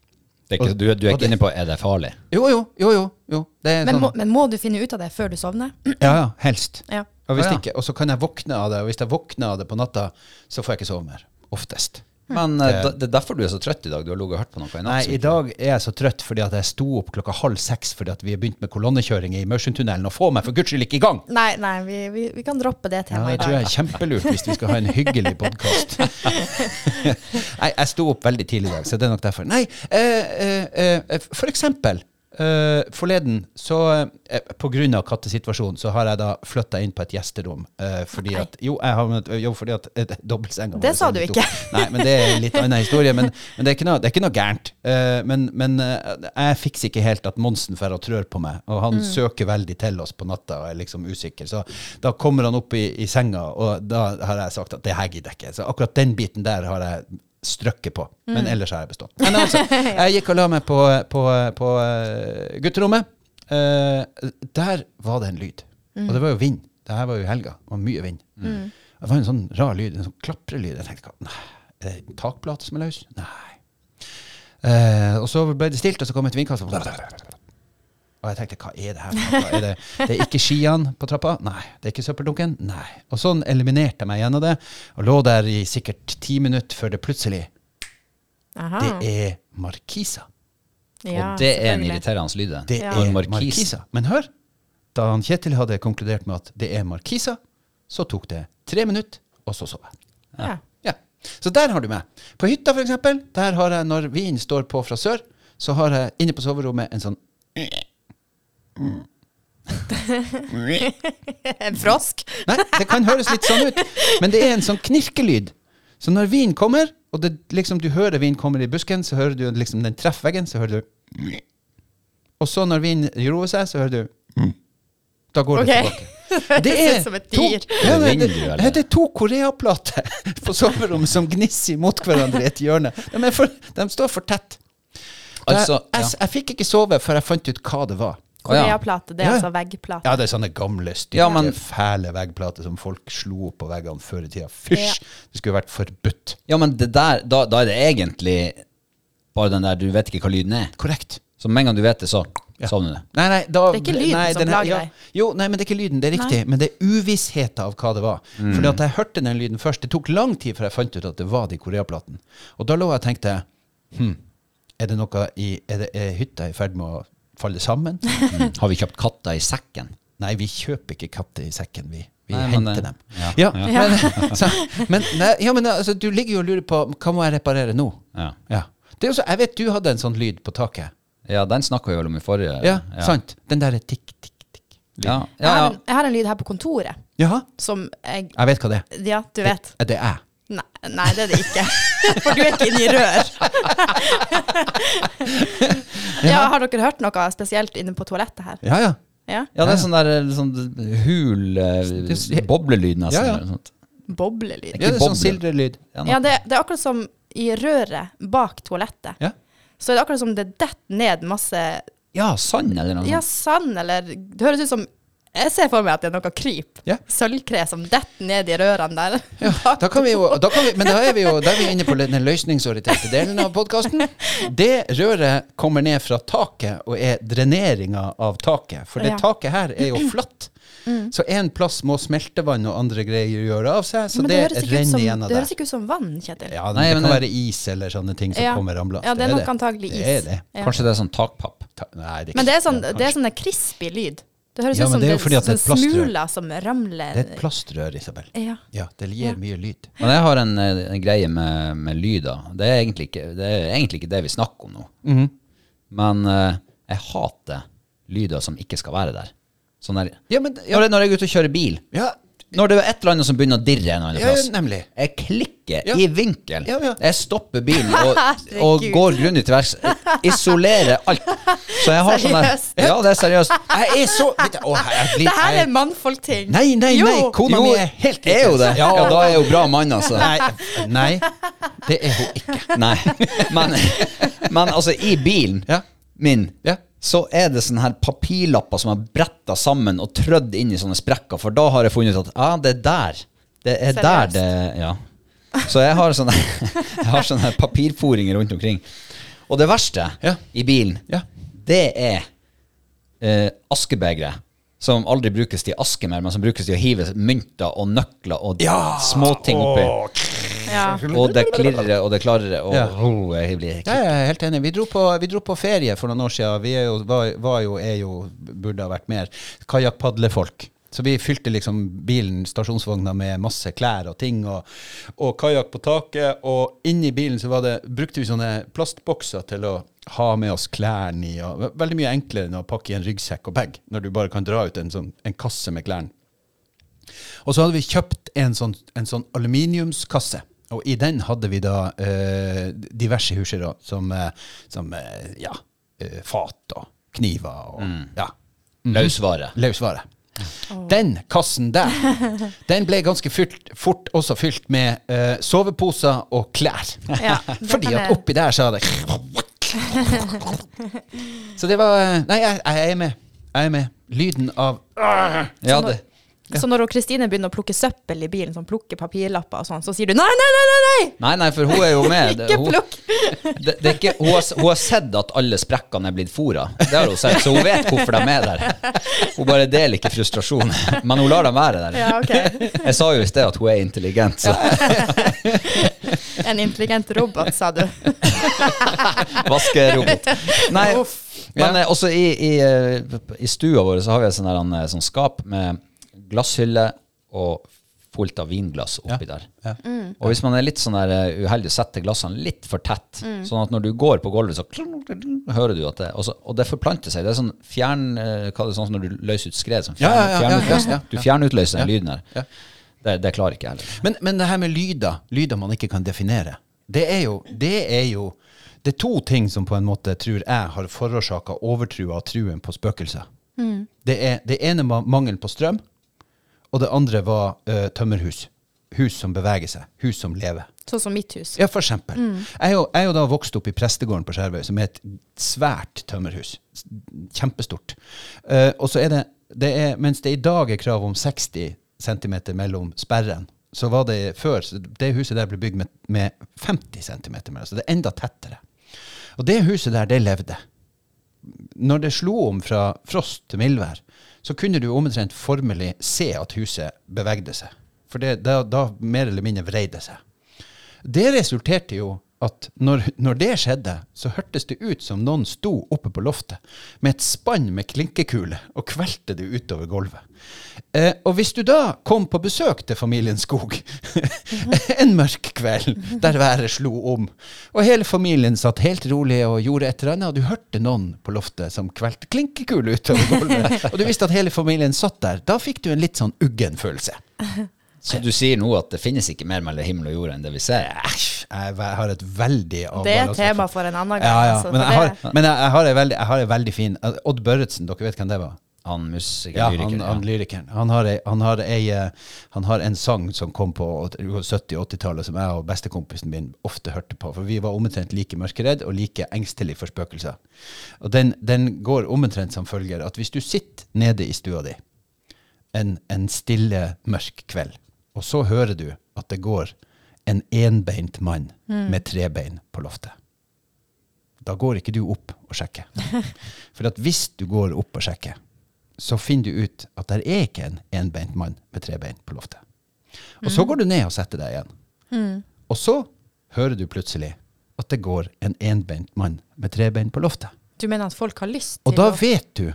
S3: Det er ikke, du, du er
S2: Og det-
S3: ikke inne på er det farlig?
S2: Jo, jo, jo, jo. jo. Det er
S1: Men
S2: sånn.
S1: må, men må du finne ut av det før du sovner? Mm,
S2: Ja, ja, helst.
S1: Ja.
S2: Og hvis
S3: Ja, ja.
S2: ikke, og så kan jeg våkne av det, og hvis jeg våkner av det på natta, så får jeg ikke sove mer. Oftest.
S1: Hm.
S3: Men eh, da, det er derfor du er så trøtt i dag. Du har ligget og hørt på noe i
S2: Nei,
S3: natt.
S2: i dag er jeg så trøtt fordi at jeg sto opp klokka halv seks fordi at vi har begynt med kolonnekjøring i Mørsundtunnelen, og få meg for guds skyld ikke i gang!
S1: Nei, nei, vi, vi, vi kan droppe det
S2: Ja,
S1: temaet
S2: det
S1: i
S2: tror jeg
S1: dag.
S2: er kjempelurt hvis vi skal ha en hyggelig podkast. Nei, jeg sto opp veldig tidlig i dag, så det er nok derfor. Nei, eh, eh, eh, for eksempel. eh, forleden, så eh, pga. kattesituasjonen, så har jeg da flytta inn på et gjesterom. eh, fordi
S1: Nei.
S2: at Jo, jeg har, jo, fordi at eh, dobbeltsenga
S1: Det sa du
S2: er litt
S1: ikke.
S2: opp. Nei, men det er en litt annen historie. Men, men det, er ikke noe, det er ikke noe gærent. Eh, men men eh, jeg fikser ikke helt at Monsen drar og trør på meg. Og han søker veldig til oss på natta og er liksom usikker. Så da kommer han opp i, i senga, og da har jeg sagt at det her gidder jeg ikke. Så akkurat den biten der har jeg strøkket på. Men ellers har jeg bestått. Men altså, jeg gikk og la meg på, på, på eh, gutterommet. Eh, der var det en lyd. Og det var jo vind. Det her var jo i helga. Det var mye vind. Det var en sånn rar lyd, en sånn klaprelyd. Jeg tenkte, "Hva- nei, er det en takplate som er løs? Nei. Eh, og så ble det stilt, og så kom et vindkast. Og jeg tenkte, hva er det her? for noe? Er det, det er ikke skiene på trappa? Nei. Det er ikke søppeldunken? Nei. Og sånn eliminerte jeg meg gjennom det, og lå der i sikkert ti minutter før det plutselig
S1: Aha.
S2: Det er markiser.
S1: Ja,
S3: og det er en
S1: selvfølgelig.
S3: irriterende lyd. det.
S2: Det
S1: Ja.
S2: er
S3: Når markis-
S2: markiser. Men hør, da han Kjetil hadde konkludert med at det er markiser, så tok det tre minutter, og så sov jeg.
S1: Ja.
S2: Ja. Så der har du meg. På hytta, for eksempel, der har jeg, når vinden står på fra sør, så har jeg inne på soverommet en sånn
S1: En frosk?
S2: Nei, det kan høres litt sånn ut, men det er en sånn knirkelyd. Så når vinden kommer, og det, liksom, du hører vinden kommer i busken, så hører du liksom den treffer veggen, så hører du Og så når vinden roer seg, så hører du Da går det
S1: Ok.
S2: tilbake. Det
S1: Høres ut
S2: er
S1: som et
S2: to,
S1: dyr.
S2: ja, det, det,
S3: Vindu, eller?
S2: det er to koreaplater på soverommet som gnisser mot hverandre i et hjørne. De, er for, de står for tett.
S3: Altså,
S2: jeg, jeg, jeg fikk ikke sove før jeg fant ut hva det var.
S3: Å, ja.
S1: Koreaplate, det er
S2: Ja, ja.
S1: altså veggplate.
S2: Ja, det er sånne gamle, stygge,
S3: Ja, men-
S2: fæle veggplater som folk slo opp på veggene før i tida. Fysj! Det skulle vært forbudt.
S3: Ja, men det der, da, da er det egentlig bare den der du vet ikke hva lyden er.
S2: Korrekt.
S3: Så med en gang du vet det, så sovner du.
S2: Nei, nei, da,
S1: Det er ikke lyden
S2: nei,
S1: som
S2: den her-
S1: plager
S2: ja.
S1: deg.
S2: Jo, nei, men det er ikke lyden, det er riktig. Men det er uvissheten av hva det var.
S3: Mm.
S2: Fordi at jeg hørte den lyden først. Det tok lang tid før jeg fant ut at det var de koreaplatene. Og da lå jeg og tenkte hm, er det noe i Er, det, er hytta i ferd med å falle sammen?
S3: Mm. Har vi kjøpt katta i sekken?
S2: Nei, vi kjøper ikke katter i sekken, vi. Vi
S3: Nei, men
S2: henter
S3: det-
S2: dem.
S3: ja,
S2: Ja,
S3: ja.
S2: Men, så, men, nei, ja, men altså, du ligger jo og lurer på hva må jeg reparere nå.
S3: Ja.
S2: Ja. Det er jo så, jeg vet du hadde en sånn lyd på taket.
S3: ja, den snakka vi vel om i forrige.
S2: Ja, sant? Den derre tikk, tikk, tikk.
S3: Ja,
S1: Jeg,
S3: ja,
S1: har
S3: ja.
S1: en, jeg har en lyd her på kontoret
S2: Jaha,
S1: som jeg
S2: jeg vet hva det er.
S1: Ja, du vet.
S2: Det er jeg.
S1: Nei, nei, det er det ikke. For du er ikke inni rør. Ja, har dere hørt noe spesielt inne på toalettet her?
S2: Ja, ja.
S1: Ja.
S3: Ja, det er sånn der eh, sånn hul eh,
S2: Det-
S3: boblelyd, nesten.
S2: Ja, ja.
S3: eller noe sånt.
S1: Boblelyd.
S2: Ja, det er
S3: Ikke
S2: sånn sildrelyd.
S3: Ja,
S1: Ja, det, det er akkurat som i røret bak toalettet.
S2: Ja.
S1: Så er det akkurat som det detter ned masse
S3: ja, sand eller noe
S1: ja,
S3: sånt.
S1: sand, eller Det høres ut som Jeg ser for meg at det er noe kryp.
S2: Ja.
S1: Sølvkre som detter ned i rørene der.
S2: Ja, da kan vi jo, da kan vi, men da er vi jo da er vi inne på den løsningsorienterte delen av podkasten. Det røret kommer ned fra taket og er dreneringa av taket. For det
S1: Ja. Mm.
S2: taket her er jo flatt. Så en plass må smeltevann og andre greier gjøre av seg, så
S1: Men
S2: det,
S1: høres ikke ut
S2: renner
S1: som,
S2: igjen av
S1: det høres
S2: det.
S1: ikke ut som vann, Kjetil.
S2: Ja, men
S3: Nei,
S2: det
S3: men
S2: kan
S3: det-
S2: være is eller sånne ting som
S1: Ja.
S2: kommer ramlende.
S1: Ja, det er nok antagelig
S2: Det
S1: is.
S2: er det.
S1: Ja.
S3: Kanskje det er sånn takpapp.
S2: Ta- Nei, det er
S1: Men det er,
S2: ikke-
S1: sånn,
S2: ja,
S1: det er
S2: kanskje.
S1: sånne crispy lyd. Det høres
S2: Ja,
S1: ut
S2: men
S1: som
S2: det er jo fordi at det er
S1: sånne
S2: et plastrør.
S1: smuler som ramler.
S2: Det er et plastrør, Isabel.
S1: Eh. Ja.
S2: Ja, det gir mye lyd.
S3: Men jeg har en, eh, en greie med, med lyder. Det er, Mhm. egentlig ikke, det er egentlig ikke det vi snakker om nå. Men eh, jeg hater lyder som ikke skal være der. Sånn der
S2: Ja, men
S3: Når jeg- Når jeg er ute og kjører bil,
S2: Ja,
S3: når det er et eller annet som begynner å dirre en eller
S2: Ja, ja,
S3: annen plass.
S2: nemlig.
S3: Jeg klikker
S2: Ja.
S3: i vinkel.
S2: Ja, ja.
S3: Jeg stopper bilen og, og
S1: Herregud.
S3: går grundig til verks. Isolerer alt. Så jeg har sånn der
S1: Seriøst?
S3: Ja, det er seriøst.
S2: jeg er så vet du, å, jeg blir,
S1: Det her
S2: jeg-
S1: er mannfolkting.
S2: Nei, nei,
S1: Jo.
S2: nei! Kona
S3: Jo,
S2: mi er helt
S3: er jo det.
S2: Ja,
S3: Ja, da er jo bra mann, altså.
S2: Nei, nei, det er hun ikke.
S3: Nei. Men, men altså, i bilen
S2: Ja.
S3: min
S2: Ja.
S3: så er det sånne her papirlapper som er bretta sammen og trødd inn i sånne sprekker, for da har jeg funnet ut at ja, ah, det er der. Det er
S1: Seriøst?
S3: der det Ja. Så jeg har sånne, jeg har sånne her papirforinger rundt omkring. Og det verste
S2: Ja.
S3: i bilen,
S2: Ja.
S3: det er eh, askebegre. Som aldri brukes til aske mer, men som brukes til å hive mynter og nøkler og
S2: Ja.
S3: småting oppi.
S1: Ja.
S3: Og det klirrer og det klarrer. Og
S2: Ja.
S3: oh, jeg blir
S2: Ja, jeg er helt enig. Vi dro på, vi dro på ferie for noen år siden. Vi er jo, var, var jo, er jo, burde ha vært mer, kajakkpadlefolk. Så vi fylte liksom bilen, stasjonsvogna, med masse klær og ting, og, og kajakk på taket. Og inni bilen så var det, brukte vi sånne plastbokser til å ha med oss klærne i. Og, ve- veldig mye enklere enn å pakke i en ryggsekk og bag, når du bare kan dra ut en, sånn, en kasse med klærne. Og så hadde vi kjøpt en sånn, en sånn aluminiumskasse. Og i den hadde vi da eh, diverse husjer da, som, eh, som eh, ja, eh, fat og kniver og
S3: Mm.
S2: ja,
S3: løsvare.
S2: løsvare.
S1: Mm.
S2: Den kassen der, den ble ganske fylt, fort også fylt med eh, soveposer og klær.
S1: Ja, det
S2: Fordi
S1: kan
S2: at
S1: jeg-
S2: oppi der så hadde Så det var eh, Nei, jeg, jeg er med. Jeg er med. Lyden av
S3: Ja, det,
S1: Så når hun Kristine begynner å plukke søppel i bilen, sånn, plukke papirlapper og sånn, så sier du nei, nei, nei, nei! nei!
S3: nei, nei, for hun er jo med. Det-
S1: Ikke
S3: hun-
S1: plukk!
S3: Det, det er ikke, hun, har, hun har sett at alle sprekkene er blitt fôra. Det har hun sett, så hun vet hvorfor de er der. Hun bare deler ikke frustrasjonen, men hun lar dem være der.
S1: Ja, ok.
S3: Jeg sa jo i sted at hun er intelligent, så
S1: En intelligent robot, sa du.
S3: vaskerobot. Nei, men eh, også i, i, eh, i stua vår så har vi et sånn der, eh, sånn skap med glasshylle og fullt av vinglass oppi der.
S2: ja.
S3: Og hvis man er litt sånn der eh, uheldig og setter glassene litt for tett, sånn at når du går på gulvet, så kling, kling, kling, hører du at det og, så, og det forplanter seg. Det er sånn fjern eh, Hva er det sånn som når du løser ut skred? Sånn
S2: Ja, ja,
S3: fjern,
S2: ja, ja, ja,
S3: fjernutløs-
S2: ja, ja.
S3: Du fjernutløser den
S2: Ja,
S3: lyden der.
S2: ja.
S3: Det, det klarer ikke jeg heller.
S2: Men, men det her med lyder, lyder man ikke kan definere, det er jo Det er jo det er to ting som på en måte tror jeg har forårsaka overtrua og truen på spøkelser. Det, er, det ene var mangel på strøm, og det andre var eh, tømmerhus. Hus som beveger seg, hus som lever.
S1: Sånn som mitt hus.
S2: Ja, for eksempel. Jeg, er jo, jeg er jo da vokst opp i prestegården på Skjervøy, som er et svært tømmerhus. S- Kjempestort. Eh, og så er det, det er, Mens det i dag er krav om 60 cm mellom sperren, så var det før så Det huset der ble bygd med, med 50 cm, så det er enda tettere. Og det huset der, det levde. Når det slo om fra frost til mildvær, så kunne du omtrent formelig se at huset bevegde seg. For det, da, da mer eller mindre vrei det seg. Det resulterte jo at når, når det skjedde, så hørtes det ut som noen sto oppe på loftet med et spann med klinkekule og kvelte det utover gulvet. Eh, og hvis du da kom på besøk til familien Skog en mørk kveld der været slo om, og hele familien satt helt rolig og gjorde et eller annet, og du hørte noen på loftet som kvelte klinkekule utover gulvet, og du visste at hele familien satt der, da fikk du en litt sånn uggen følelse.
S3: Så du sier nå at det finnes ikke mer mellom himmel og jord enn det vi ser?
S2: Æsj, jeg ve- har et veldig
S1: Det er
S2: avbalansert
S1: et tema for en annen gang.
S2: Ja, ja.
S1: altså,
S2: men
S1: for
S2: jeg
S1: det-
S2: har, men jeg, jeg har en veldig, jeg har en veldig fin Odd Børretzen, dere vet hvem det var?
S3: Han musiker,
S2: Ja,
S3: lyriker.
S2: han,
S3: ja.
S2: han lyrikeren. Han har, ei, han, har ei, eh, han har en sang som kom på åt- 70- og 80-tallet, som jeg og bestekompisen min ofte hørte på. For vi var omtrent like mørkeredd og like engstelig for spøkelser. Og den, den går omtrent som følger at hvis du sitter nede i stua di en, en stille, mørk kveld, og så hører du at det går en enbeint mann med tre bein på loftet da går ikke du opp og sjekker. For at hvis du går opp og sjekker, så finner du ut at der er ikke en enbeint mann med tre bein på loftet. Og så går du ned og setter deg igjen.
S1: Mm.
S2: Og så hører du plutselig at det går en enbeint mann med tre bein på loftet.
S1: Du mener at folk har lyst
S2: Og
S1: til
S2: da
S1: å
S2: vet du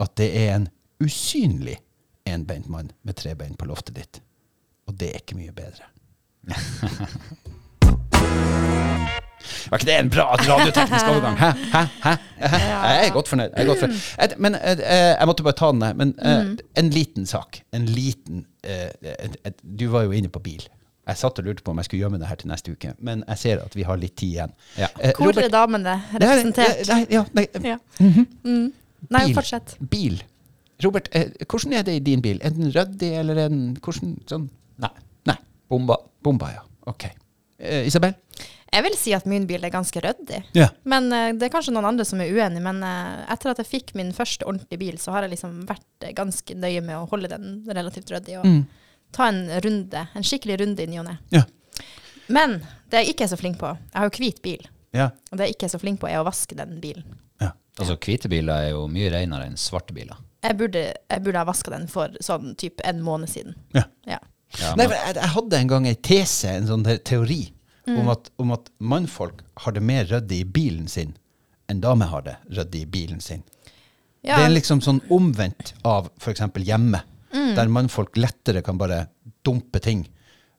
S2: at det er en usynlig enbeint mann med tre bein på loftet ditt. Og det er ikke mye bedre. Var ikke det en bra radioteknisk overgang? Hæ? Hæ? Hæ? Hæ? Jeg er godt fornøyd. Jeg er godt fornøyd. Et, men eh, eh, jeg måtte bare ta den der. Men eh,
S1: Mm.
S2: en liten sak. En liten eh, et, et, Du var jo inne på bil. Jeg satt og lurte på om jeg skulle gjemme det her til neste uke, men jeg ser at vi har litt tid igjen.
S3: Ja.
S2: Eh,
S1: Hvor
S2: Robert-
S1: er damene representert?
S2: Nei, nei, ja, nei,
S1: Ja. Mm. Nei,
S2: bil.
S1: fortsett.
S2: Bil. Robert, eh, hvordan er det i din bil? Er den ryddig, eller er den hvordan, sånn?
S3: Nei.
S2: Nei.
S3: Bomba.
S2: Bomba, ja. Ok. Eh, Isabel?
S1: Jeg vil si at min bil er ganske ryddig.
S2: Ja.
S1: Men eh, det er kanskje noen andre som er uenig, men eh, etter at jeg fikk min første ordentlige bil, så har jeg liksom vært eh, ganske nøye med å holde den relativt ryddig
S2: Mm.
S1: og ta en runde, en skikkelig runde i ny og ne.
S2: Ja.
S1: Men det jeg ikke er så flink på, jeg har jo hvit bil,
S2: Ja.
S1: og det jeg ikke er så flink på er å vaske den bilen.
S2: ja.
S3: Altså, hvite biler er jo mye renere enn svarte biler.
S1: Jeg burde, jeg burde ha vaska den for sånn typ en måned siden.
S2: ja.
S1: Ja.
S3: Ja,
S2: Nei,
S3: men-
S2: for jeg, jeg hadde en gang en tese, en sånn der teori,
S1: Mm.
S2: om, at, om at mannfolk har det mer ryddig i bilen sin enn damer har det ryddig i bilen sin.
S1: Ja,
S2: Det er liksom sånn omvendt av f.eks. hjemme,
S1: Mm.
S2: der mannfolk lettere kan bare dumpe ting.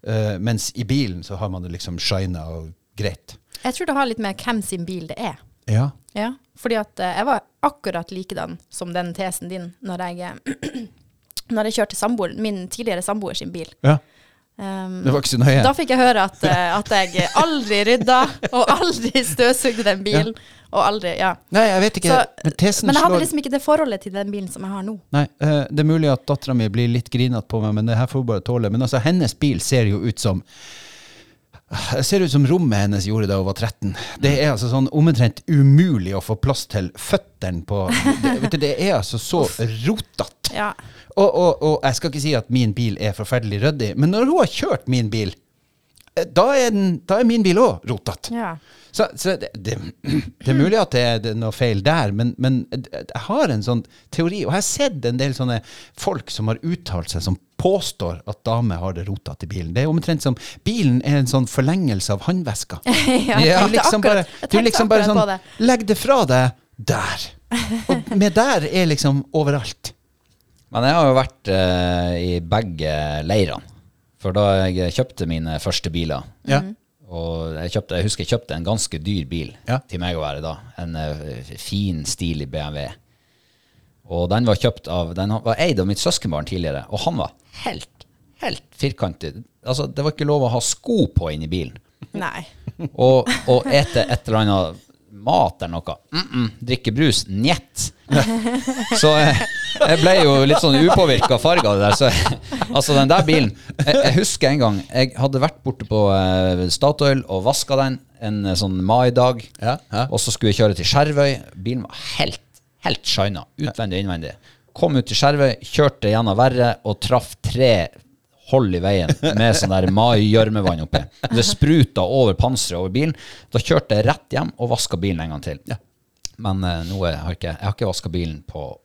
S2: Eh, mens i bilen så har man det liksom shina og greit.
S1: Jeg tror det har litt med hvem sin bil det er.
S2: Ja.
S1: Ja, fordi at eh, jeg var akkurat likedan som den tesen din når jeg, eh, når jeg kjørte samboer, min tidligere samboer sin bil.
S2: ja.
S1: Um,
S2: Det var ikke så nøye.
S1: da fikk jeg høre at, eh, at jeg aldri rydda, og aldri støvsugde den bilen. Og aldri, ja.
S2: Nei, jeg vet ikke.
S1: Så-
S2: men tesen
S1: Men jeg hadde
S2: slår
S1: liksom ikke det forholdet til den bilen som jeg har nå.
S2: Nei, eh, det er mulig at dattera mi blir litt grinete på meg, men det her får hun bare tåle. Men altså, hennes bil ser jo ut som det ser ut som rommet hennes gjorde da hun var 13. Det er altså sånn omtrent umulig å få plass til føttene på det, vet du, det er altså så rotete.
S1: Ja.
S2: Og, og, og jeg skal ikke si at min bil er forferdelig ryddig, men når hun har kjørt min bil, eh, da er, den, da er min bil òg rotete.
S1: Ja.
S2: Så, så det, det, det er mulig at det er det er noe feil der, men, men jeg har en sånn teori, og jeg har sett en del sånne folk som har uttalt seg, som påstår at damer har det rotete i bilen. Det er omtrent som bilen er en sånn forlengelse av håndveska.
S1: Ja, jeg tenkte
S2: Du liksom
S1: akkurat-
S2: bare,
S1: jeg
S2: du
S1: tenkte
S2: liksom bare
S1: akkurat på
S2: sånn
S1: det.
S2: Legg det fra deg der. Og med der er liksom overalt.
S3: Men jeg har jo vært eh, i begge leirene. For da jeg kjøpte mine første biler
S2: Ja.
S1: Mm.
S3: og jeg, kjøpte, jeg husker jeg kjøpte en ganske dyr bil
S2: Ja.
S3: til meg å være da. En eh, fin, stilig BMW. Og den var kjøpt av Den var eid av mitt søskenbarn tidligere, og han var helt, helt firkantet. Altså, det var ikke lov å ha sko på inni bilen.
S1: Nei.
S3: Og, og ete et eller annet mat eller noe. Mm -mm. Drikke brus. Njet. Så jeg, jeg ble jo litt sånn upåvirka av farga av det der. Så, altså, den der bilen jeg, jeg husker en gang jeg hadde vært borte på eh, Statoil og vaska den en eh, sånn maidag.
S2: Ja, ja.
S3: Og så skulle jeg kjøre til Skjervøy. Bilen var helt, helt shina. Utvendig og innvendig. Kom ut til Skjervøy, kjørte gjennom verre og traff tre hold i veien med sånn der mai-gjørmevann oppi. Det spruta over panseret over bilen. Da kjørte jeg rett hjem og vaska bilen en gang til. Men eh, nå er- har jeg ikke, jeg har ikke vaska bilen på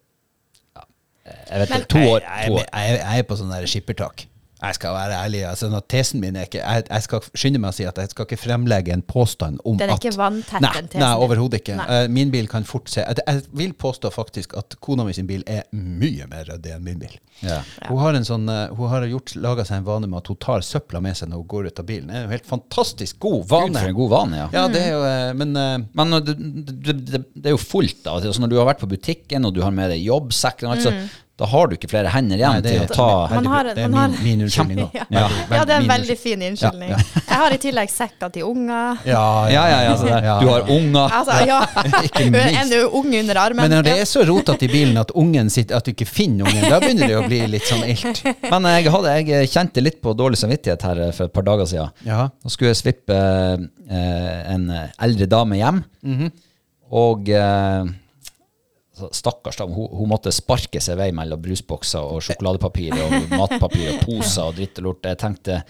S3: ja, eh, jeg vet ikke, to år.
S2: Jeg, jeg,
S3: To år.
S2: jeg, jeg er på sånn der skippertak. Jeg skal være ærlig. Altså, når tesen min er ikke jeg, jeg skal skynde meg å si at jeg skal ikke fremlegge en påstand om at
S1: Den er ikke vanntett,
S2: Nei,
S1: den tesen
S2: nei
S1: din.
S2: overhodet ikke.
S1: Nei.
S2: Eh, Min bil kan fort se Jeg, jeg vil påstå faktisk at kona mi sin bil er mye mer ryddig enn min bil.
S3: Ja.
S2: Hun har, en sånn, eh, hun har gjort, laget seg en vane med at hun tar søpla med seg når hun går ut av bilen. Det er en helt fantastisk god
S3: Gud, for
S2: vane.
S3: en god vane, ja.
S2: Ja, det er jo, eh, men eh,
S3: Ehm, Men det, det, det, det er jo fullt av altså, Når du har vært på butikken og du har med deg jobbsekk, og alt, så- da har du ikke flere hender igjen
S2: Nei, det er-
S3: til å ta
S1: Man har-
S2: det er
S1: man har-
S2: min, min unnskyldning òg.
S1: Ja. ja, det er en veldig fin unnskyldning.
S2: Ja,
S1: Jeg har i tillegg sekker til unger.
S2: Ja,
S3: Ja, ja, ja. Så det, du har unger.
S1: Altså, ja.
S2: Ikke minst.
S1: En unge under armen.
S2: Men eh, når det
S1: Ja.
S2: er så rotete i bilen at, ungen sitter, at du ikke finner ungen, da begynner det å bli litt sånn ilt.
S3: Men jeg, hadde, jeg kjente litt på dårlig samvittighet her eh, for et par dager siden.
S2: Ja.
S3: Nå skulle jeg svippe eh, eh, en eh, eldre dame hjem.
S2: Mhm.
S3: Og eh, så stakkars dame, hun, hun måtte sparke seg vei mellom brusbokser og sjokoladepapir og matpapir og poser og dritt og lort. Jeg tenkte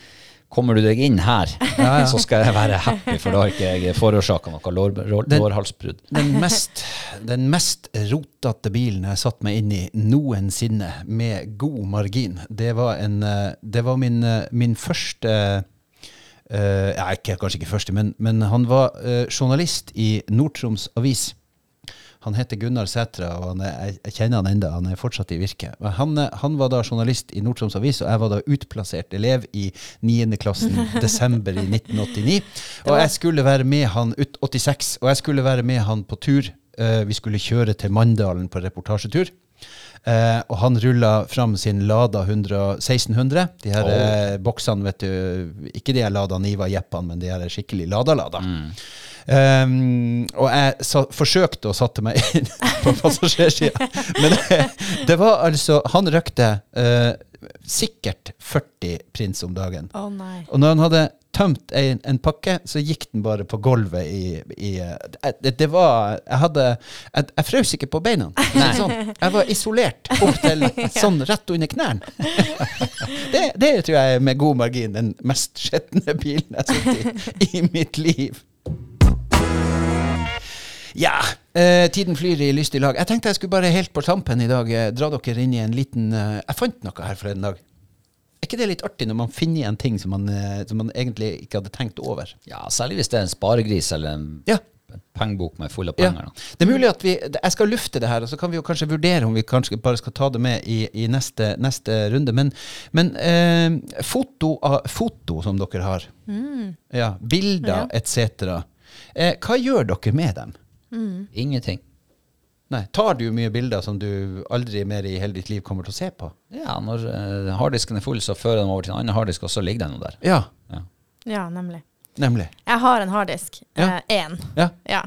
S3: kommer du deg inn her, så skal jeg være happy, for da har ikke jeg forårsaka noe lår, lår,
S2: Den-
S3: lårhalsbrudd.
S2: Den mest, den mest rotete bilen jeg satt meg inn i noensinne, med god margin, det var, en, eh, det var min, eh, min første eh, Nei, ikke, kanskje ikke første, men, men han var eh, journalist i Nord-Troms Avis. Han heter Gunnar Sætra, og han er, jeg- jeg kjenner han enda, han er fortsatt i virke. Men Han, eh, han var da journalist i Nord-Troms Avis, og jeg var da utplassert elev i 9. klassen desember i 1989. Og jeg skulle være med han ut 86, og jeg skulle være med han på tur. Eh, Vi skulle kjøre til Mandalen på reportasjetur. Eh, og han rulla fram sin Lada 100, 1600. De her eh, boksene, vet du. Ikke de her Lada Niva-jeppene, men de her skikkelig Lada-Lada. Um, og jeg sa, forsøkte å satte meg inn på passasjersida. Men det, det var altså Han røkte eh, sikkert 40 prins om dagen.
S1: Å nei.
S2: Og når han hadde tømt en, en pakke, så gikk den bare på gulvet i, i eh, det, det var Jeg hadde Jeg, jeg frøs ikke på beina. for å si det Sånn. Jeg var isolert opp til sånn rett under knærne. Det, det tror jeg er med god margin den mest skjetne bilen jeg har sittet i i mitt liv. Ja, eh, tiden flyr i lystig lag. Jeg tenkte jeg skulle bare helt på tampen i dag eh, dra dere inn i en liten eh, Jeg fant noe her forleden dag. Er ikke det litt artig når man finner igjen ting som man, eh, som man egentlig ikke hadde tenkt over?
S3: Ja, særlig hvis det er en sparegris eller en
S2: Ja.
S3: pengebok med full av
S2: Ja.
S3: penger. da.
S2: Det er mulig at vi Jeg skal lufte det her, og så kan vi jo kanskje vurdere om vi kanskje bare skal ta det med i, i neste, neste runde. Men, men eh, foto, av- foto som dere har, Mm. ja, bilder etc. Eh, hva gjør dere med dem? Mm.
S3: Ingenting.
S2: Nei, Tar du mye bilder som du aldri mer i hele ditt liv kommer til å se på?
S3: Ja, når eh, harddisken er full, så fører jeg den over til en annen harddisk, og så ligger den jo der.
S2: Ja,
S3: Ja.
S1: Ja, nemlig.
S2: nemlig.
S1: Jeg har en harddisk.
S2: Ja.
S1: Én.
S2: Ja.
S1: ja.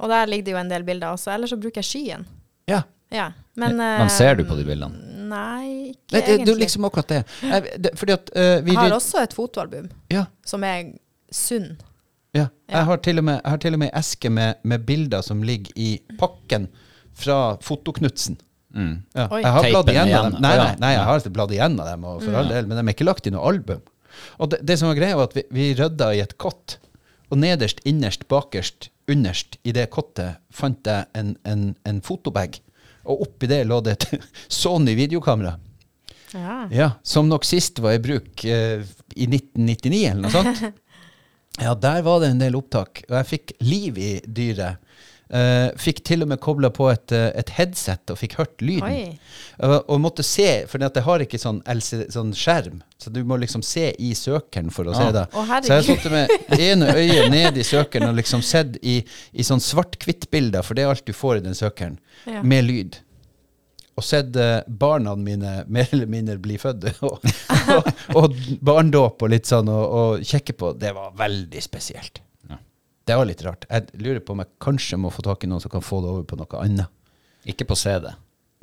S1: Og der ligger det jo en del bilder også. Ellers så bruker jeg skyen.
S2: ja.
S1: Ja. Men,
S3: Men ser du på de bildene?
S1: eh, Nei, ikke
S2: Nei, det, det
S1: egentlig.
S2: er liksom akkurat det. Jeg, det fordi at eh, vi
S1: jeg har
S2: driv-
S1: også et fotoalbum
S2: Ja,
S1: som er sunn.
S2: ja.
S1: Ja.
S2: Jeg, har til og med, jeg har til og med eske med, med bilder som ligger i pakken fra Fotoknutsen.
S3: Mm.
S2: Ja.
S1: Oi. Mm.
S2: Jeg har bladd
S3: Teipen
S2: igjennom
S3: igjen.
S2: dem. Nei,
S3: Å, ja.
S2: nei, nei, jeg har ikke bladd igjennom dem, og for all del, men de er ikke lagt i noe album. Og det, det som var greia, var at vi, vi rydda i et kott, og nederst, innerst, bakerst, underst i det kottet fant jeg en, en, en fotobag, og oppi det lå det et Sony videokamera.
S1: Ja.
S2: Ja, som nok sist var i bruk eh, i 1999 eller noe sånt. Ja, der var det en del opptak, og jeg fikk liv i dyret. Eh, fikk til og med kobla på et, eh, et headset og fikk hørt lyden.
S1: Oi.
S2: Og- og måtte se, for det har ikke sånn, LC, sånn skjerm, så du må liksom se i søkeren for å se
S3: Ja.
S2: det.
S1: Å,
S2: så jeg
S1: herregud.
S2: satt med ene øyet ned i søkeren og liksom sett i, i sånn svart-hvitt-bilder, for det er alt du får i den søkeren,
S1: Ja.
S2: med lyd og sett eh, barna mine mer eller mindre bli født, og, og, og barndåp og litt sånn, og, og kjekke på, det var veldig spesielt.
S3: Ja.
S2: Det var litt rart. Jeg lurer på om jeg kanskje må få tak i noen som kan få det over på noe annet.
S3: Ikke på CD.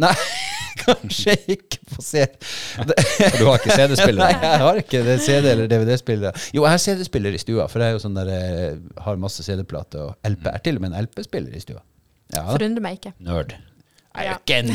S2: Nei, kanskje ikke på C. Det-
S3: For du har ikke CD-spiller?
S2: Nei, jeg har ikke det CD- eller DVD-spillere. Jo, jeg har CD-spiller i stua, for jeg er jo sånn der, eh, har masse CD-plater og LP.
S3: Mm.
S2: Jeg har til og med en LP-spiller i stua. Ja, da.
S1: Forundrer meg ikke.
S3: Nerd.
S2: Jeg er
S1: Ja.
S2: jo ikke en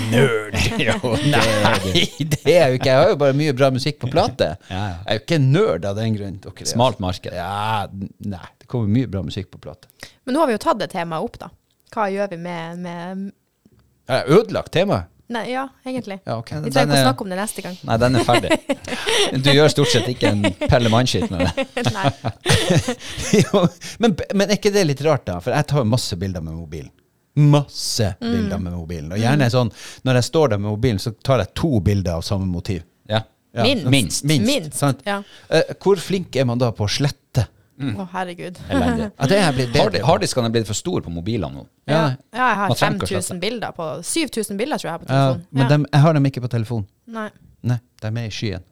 S2: nerd! Nei, det er jo ikke. Jeg har jo bare mye bra musikk på plate.
S3: Ja, ja.
S2: Jeg er jo ikke en nerd av den grunn. Dere er altså-
S3: Smalt marked.
S2: Ja, n- nei. Det kommer mye bra musikk på plate.
S1: Men nå har vi jo tatt det temaet opp, da. Hva gjør vi med, med
S2: Jeg har ødelagt temaet.
S1: Nei, ja, egentlig.
S2: Ja,
S1: Vi
S2: ok.
S1: trenger ikke å
S3: Den er-
S1: snakke om det neste gang.
S3: Nei, den er ferdig. Du gjør stort sett ikke en Pelle Mannskitt med det.
S1: Nei.
S2: Jo, men, men er ikke det litt rart, da? For jeg tar jo masse bilder med mobilen. Masse
S1: Mm.
S2: bilder med mobilen. Og gjerne sånn, når jeg står der med mobilen, så tar jeg to bilder av samme motiv.
S3: Ja.
S2: Ja, sånn,
S1: Minst.
S2: Minst. minst,
S1: Minst,
S2: sant?
S1: ja.
S2: Eh, hvor flink er man da på å slette?
S1: Å, herregud.
S3: Elendig.
S2: Ja, det er jeg blitt
S3: Harddi-
S2: bedre på.
S3: Harddiskene er blitt for store på mobilene nå.
S1: Ja,
S2: Ja.
S1: ja jeg har
S3: Man trenger ikke å
S1: 5000 bilder på 7000 bilder, tror jeg, på
S2: Ja,
S1: telefonen.
S2: men
S1: Ja.
S2: dem- jeg har dem ikke på telefon.
S1: Nei.
S2: Nei, de er i skyen,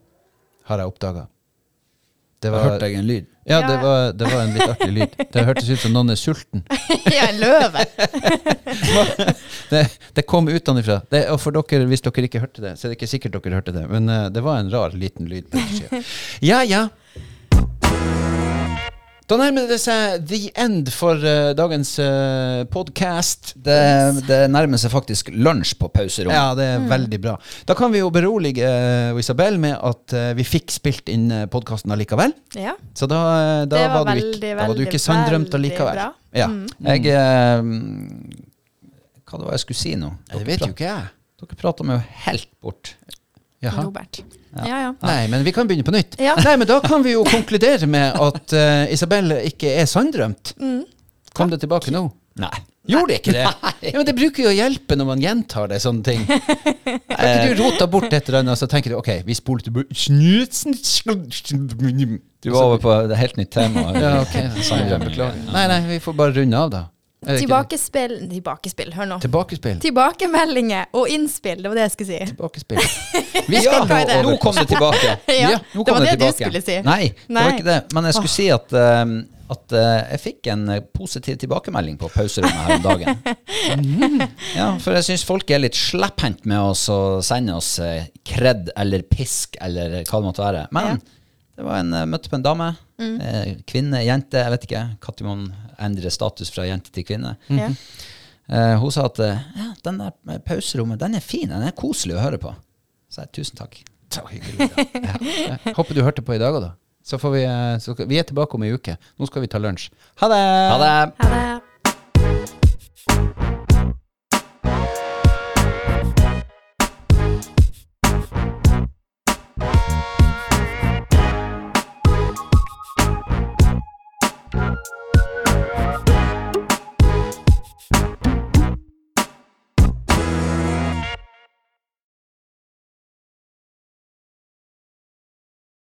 S2: har jeg oppdaga. Det
S3: Jeg hørte jeg en lyd.
S1: Ja,
S2: Ja, det
S1: ja.
S2: var, det var en litt artig lyd. Det hørtes ut som noen er sulten.
S1: ja, en løve.
S2: Det, det kom utenfra. Det, og for dere, hvis dere ikke hørte det, så er det ikke sikkert dere hørte det, men eh, det var en rar liten lyd. på ettersiden. Ja, ja. Da nærmer det seg the end for eh, dagens uh, podkast.
S3: Det, det nærmer seg faktisk lunsj på pauserommet.
S2: Ja, det er veldig bra. Da kan vi jo berolige eh, Isabel med at eh, vi fikk spilt inn podkasten allikevel.
S1: Ja.
S2: Så da, eh, da,
S1: Det
S2: var
S1: var
S2: du ikke,
S1: veldig,
S2: da var du ikke
S1: veldig,
S2: sanndrømt
S1: veldig
S2: allikevel.
S1: bra. Mm.
S2: Ja.
S3: Jeg eh, Hva det var jeg skulle si nå?
S2: Mm. Det vet jo ikke jeg.
S3: Dere pra- Dere prata meg jo helt bort.
S2: Jaha.
S1: Robert. Ja, ja.
S2: Nei, men vi kan begynne på nytt.
S1: Ja.
S2: Nei, men Da kan vi jo
S1: Mm.
S2: konkludere med at eh, Isabel ikke er sanndrømt. Kom det tilbake nå?
S3: Nei.
S2: Gjorde det ikke det? Ja, men det bruker jo å hjelpe når man gjentar det, sånne ting. Har ikke du rota bort et eller annet, så tenker du OK, vi spoler til bu-
S3: Du var over på et helt nytt tema.
S2: Ja, ok. Sorry, jeg beklager. Nei, nei, vi får bare runde av, da. Er det ikke det?
S1: Tilbakespill Tilbakespill, hør nå.
S2: Tilbakespill.
S1: Tilbakemeldinger og innspill, det var det jeg skulle si.
S2: Tilbakespill. Vi skal
S1: hva er det?
S2: nå over
S3: Nå kom det tilbake.
S1: Ja,
S2: nå
S1: det
S2: kom
S1: var det du
S2: tilbake.
S1: skulle si.
S3: Nei, det var
S1: Nei.
S3: ikke det. Men jeg skulle si at, eh, at eh, jeg fikk en eh, positiv tilbakemelding på pauserommet her om dagen. Ja, For jeg syns folk er litt slepphendt med oss å sende oss eh, kred eller pisk eller hva det måtte være. Men det var en eh, møtte på en dame.
S1: Mm.
S3: eh, Kvinne, jente, jeg vet ikke når man endrer status fra jente til kvinne.
S1: Ja.
S3: Eh, hun sa at eh, ja, den der pauserommet den er fin, den er koselig å høre på. Så jeg tusen takk.
S2: Så hyggelig. Ja. Ja. Håper du hørte på i dag òg, da. Så får vi, eh, så, skal- vi er tilbake om ei uke. Nå skal vi ta lunsj. Ha det!
S3: Ha det!
S1: Ha det.